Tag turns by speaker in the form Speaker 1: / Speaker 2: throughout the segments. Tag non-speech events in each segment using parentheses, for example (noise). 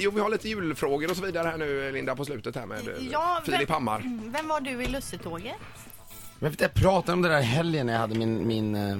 Speaker 1: Jo, vi har lite julfrågor och så vidare här nu, Linda, på slutet här med eh, Filip Hammar.
Speaker 2: Vem, vem var du i lussetåget?
Speaker 3: Men jag pratade om det där i helgen när jag hade min, min, eh,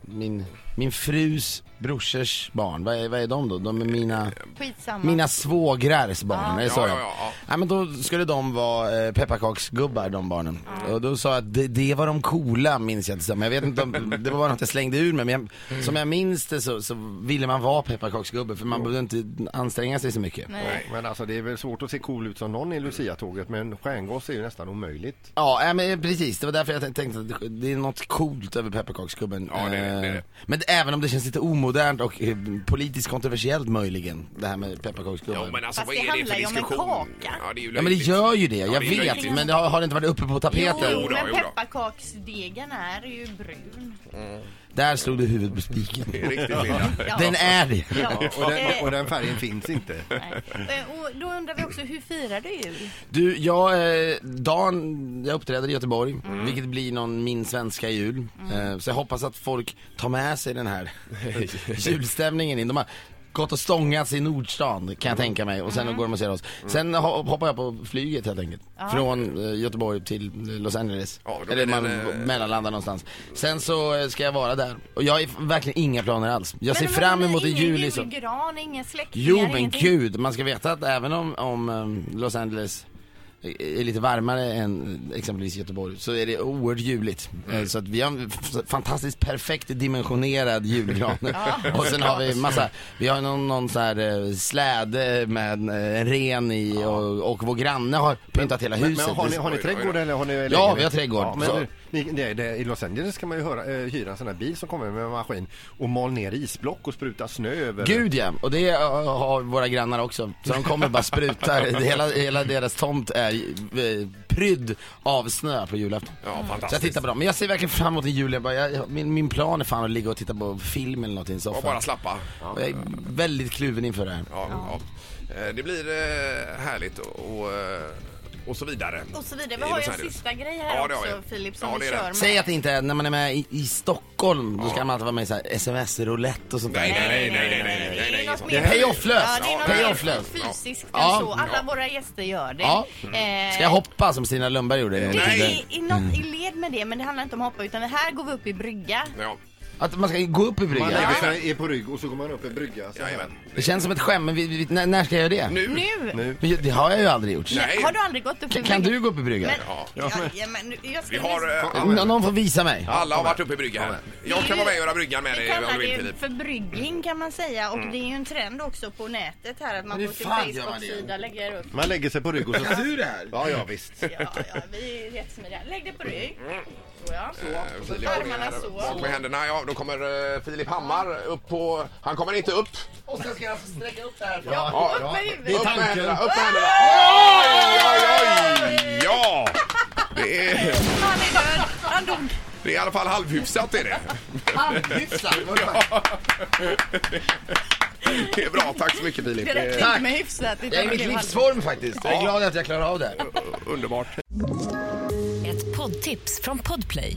Speaker 3: min, min frus brorsers barn. Vad är, vad är de då? De är mina...
Speaker 2: Skitsamma.
Speaker 3: Mina svågrars barn, det sa
Speaker 1: Ja,
Speaker 3: jag.
Speaker 1: ja, ja, ja.
Speaker 3: Nej, men då skulle de vara eh, pepparkaksgubbar, de barnen. Och då sa jag att det, det var de coola, minns jag inte. så. Men jag vet inte om, det var bara något jag slängde ur mig. Men jag, som jag minns det så, så ville man vara pepparkaksgubbe för man
Speaker 1: Mm.
Speaker 3: behövde inte anstränga sig så mycket.
Speaker 2: Nej.
Speaker 4: Men alltså det är väl svårt att se cool ut som någon i Lucia-tåget men stjärngoss är ju nästan omöjligt.
Speaker 3: Ja, nej, men eh, precis. Det var därför jag t- tänkte att det- det är något coolt över pepparkaksgubben.
Speaker 1: Ja, det är det, det är det.
Speaker 3: Eh, Men även om det känns lite omodernt och eh, politiskt kontroversiellt möjligen, det här med pepparkaksgubben.
Speaker 1: Ja, men alltså
Speaker 2: Fast
Speaker 1: vad
Speaker 2: det
Speaker 1: är det
Speaker 2: handlar
Speaker 1: för
Speaker 2: ju om en
Speaker 1: diskussion?
Speaker 2: kaka.
Speaker 1: Ja, det är ju
Speaker 3: Ja men det
Speaker 1: löjligt.
Speaker 3: gör ju det, jag
Speaker 1: det är
Speaker 3: vet.
Speaker 1: löjligt.
Speaker 3: Men det har, har det inte varit uppe på
Speaker 2: Jo,
Speaker 3: tapeten?
Speaker 1: Jodå,
Speaker 2: men
Speaker 1: jodå.
Speaker 2: pepparkaksdegen är ju brun.
Speaker 3: Där slog du huvudet på spiken.
Speaker 1: Det är Riktigt, Linda.
Speaker 2: Ja.
Speaker 3: Den är det.
Speaker 2: Ja.
Speaker 4: Och den,
Speaker 2: Eh,
Speaker 4: och den färgen finns inte.
Speaker 2: nej. Eh, Och då undrar vi också, hur firar du jul?
Speaker 3: Du, jag, eh, Dan, jag uppträder i Göteborg,
Speaker 1: Mm.
Speaker 3: vilket blir någon Min svenska jul. Eh, så jag hoppas att folk tar med sig
Speaker 1: (laughs)
Speaker 3: den här (laughs) julstämningen in. De har gått och stångats i Nordstan,
Speaker 1: Mm.
Speaker 3: kan jag tänka mig. Och sen går de och ser oss. Sen ho- hoppar jag på flyget helt enkelt. Från eh, Göteborg till eh, Los Angeles.
Speaker 1: Ja, då blir
Speaker 3: Eller
Speaker 1: det
Speaker 3: man
Speaker 1: en, eh,
Speaker 3: mellanlandar någonstans. Sen så eh, ska jag vara där. Och jag har ju verkligen inga planer alls. Jag ser
Speaker 2: Men-
Speaker 3: fram
Speaker 2: men
Speaker 3: emot en
Speaker 2: ingen
Speaker 3: jul liksom. i så.
Speaker 2: julgran, ingen släktingar,
Speaker 3: Jo men
Speaker 2: ingenting.
Speaker 3: gud, man ska veta att även om, om ehm, Los Angeles är lite varmare än exempelvis Göteborg så är det oerhört juligt.
Speaker 4: Mm.
Speaker 3: Eh, Så att vi har en f- fantastiskt perfekt dimensionerad
Speaker 4: (laughs)
Speaker 3: julgran. (laughs) och sen har vi massa, vi har någon, någon så här eh, släde med en, eh, en ren i och, och vår granne har pyntat hela
Speaker 4: Men,
Speaker 3: huset.
Speaker 4: men har, ni, har ni
Speaker 1: Oj, oj, oj.
Speaker 4: trädgård eller har ni
Speaker 3: vi har trädgård.
Speaker 4: Ja,
Speaker 3: Så-
Speaker 4: men, ni, det, det, I Los Angeles kan man ju höra, eh, hyra en sån här bil som kommer med en maskin och mal ner isblock och spruta snö över.
Speaker 3: Gud ja, och det eh, har våra grannar också. Så de kommer och bara
Speaker 4: (laughs)
Speaker 3: sprutar, hela, hela deras tomt är eh, prydd av snö på julafton.
Speaker 1: Ja,
Speaker 3: Så jag
Speaker 1: fantastiskt.
Speaker 3: tittar på dem. Men jag ser verkligen fram emot en jul. Jag bara, jag, min, min plan är fan att ligga och titta på film eller något i en soffa.
Speaker 1: Och bara slappa.
Speaker 3: Och jag är väldigt kluven inför det här.
Speaker 1: Ja, ja. Eh, Det blir eh, härligt och, och, eh, och så vidare.
Speaker 2: Och så vidare.
Speaker 1: I
Speaker 2: Vi har ju
Speaker 1: Los
Speaker 2: en
Speaker 1: Angeles.
Speaker 2: sista grej här
Speaker 1: Ja, det har
Speaker 2: också,
Speaker 1: vi.
Speaker 2: Filip, som
Speaker 1: Ja, det
Speaker 2: vi
Speaker 1: är det.
Speaker 2: kör med.
Speaker 3: Säg att det inte är, när man är med i, i Stockholm, då ska man alltid vara med i så här sms-roulett och sånt
Speaker 1: Nej,
Speaker 3: där.
Speaker 1: nej, nej, nej, nej, nej, nej,
Speaker 2: Det
Speaker 1: nej.
Speaker 2: är något
Speaker 3: Det
Speaker 2: mer
Speaker 3: är payofflöst.
Speaker 2: Ja, det är något
Speaker 3: Ja,
Speaker 2: mer
Speaker 3: payofflöst.
Speaker 2: fysiskt
Speaker 3: Ja.
Speaker 2: än så. Alltså, Alla
Speaker 1: Ja.
Speaker 2: våra gäster gör det.
Speaker 3: Ja.
Speaker 2: Eh,
Speaker 3: Ska jag hoppa som Stina Lundberg gjorde? en gång i
Speaker 1: Nej.
Speaker 3: tiden?
Speaker 2: I, i, något, I led med det, men det handlar inte om hoppa utan det här går vi upp i brygga.
Speaker 1: Ja,
Speaker 3: Att man ska gå upp i bryggan?
Speaker 4: Man lägger sig är på rygg och så går man upp en brygga. Så här.
Speaker 1: jajamän.
Speaker 3: Det känns som ett skämt, men vi, vi, när, när ska jag göra det?
Speaker 1: Nu?
Speaker 2: Nu!
Speaker 4: Nu.
Speaker 3: Men Det har jag ju aldrig gjort.
Speaker 1: Nej.
Speaker 2: Har du aldrig gått upp i
Speaker 3: Kan,
Speaker 2: brygga?
Speaker 3: kan du gå upp i bryggan?
Speaker 2: Men,
Speaker 1: Ja.
Speaker 2: ja, ja, men, nu- jag ska
Speaker 1: Vi har... eh,
Speaker 3: Nå- Någon får visa mig.
Speaker 1: Alla har varit uppe i bryggan här. Jag kan vara med och göra bryggan med
Speaker 2: Vi
Speaker 1: dig om
Speaker 2: kallar
Speaker 1: du
Speaker 2: det
Speaker 1: vill,
Speaker 2: ju
Speaker 1: Filip.
Speaker 2: för bryggling kan man säga
Speaker 1: Mm.
Speaker 2: och det är ju en trend också på nätet här att man
Speaker 3: hur
Speaker 2: går till
Speaker 3: fan gör man det?
Speaker 2: Facebook-sida lägger upp.
Speaker 4: Man lägger sig på rygg och så...
Speaker 3: du det här?
Speaker 4: Ja, ja visst.
Speaker 2: Ja, ja, vi är jättesmidiga. Lägg dig på rygg. Så ja.
Speaker 1: Mm. Eh, Filip har
Speaker 2: Armarna
Speaker 1: det här
Speaker 2: så.
Speaker 1: bak med händerna. Ja, då kommer eh, Filip Hammar upp på... Han kommer inte upp.
Speaker 3: Och sen ska jag alltså sträcka upp det här.
Speaker 1: Ja,
Speaker 2: Upp med huvudet.
Speaker 1: Upp med händerna, upp med händerna. Oj, oj, oj, oj! Ja! Det är,
Speaker 2: Han är död. Han dog.
Speaker 1: det är i alla fall halvhyfsat är det.
Speaker 3: Handhyfsad, vadå?
Speaker 1: Det är bra, tack så mycket Filip.
Speaker 2: Det
Speaker 1: Det
Speaker 2: räckte
Speaker 3: Tack.
Speaker 2: inte med hyfsat. utan
Speaker 3: Jag är i
Speaker 2: det
Speaker 3: mitt
Speaker 2: blev
Speaker 3: livsform faktiskt. Jag är glad att jag klarar av det. här.
Speaker 1: är underbart.
Speaker 5: Ett poddtips från Podplay.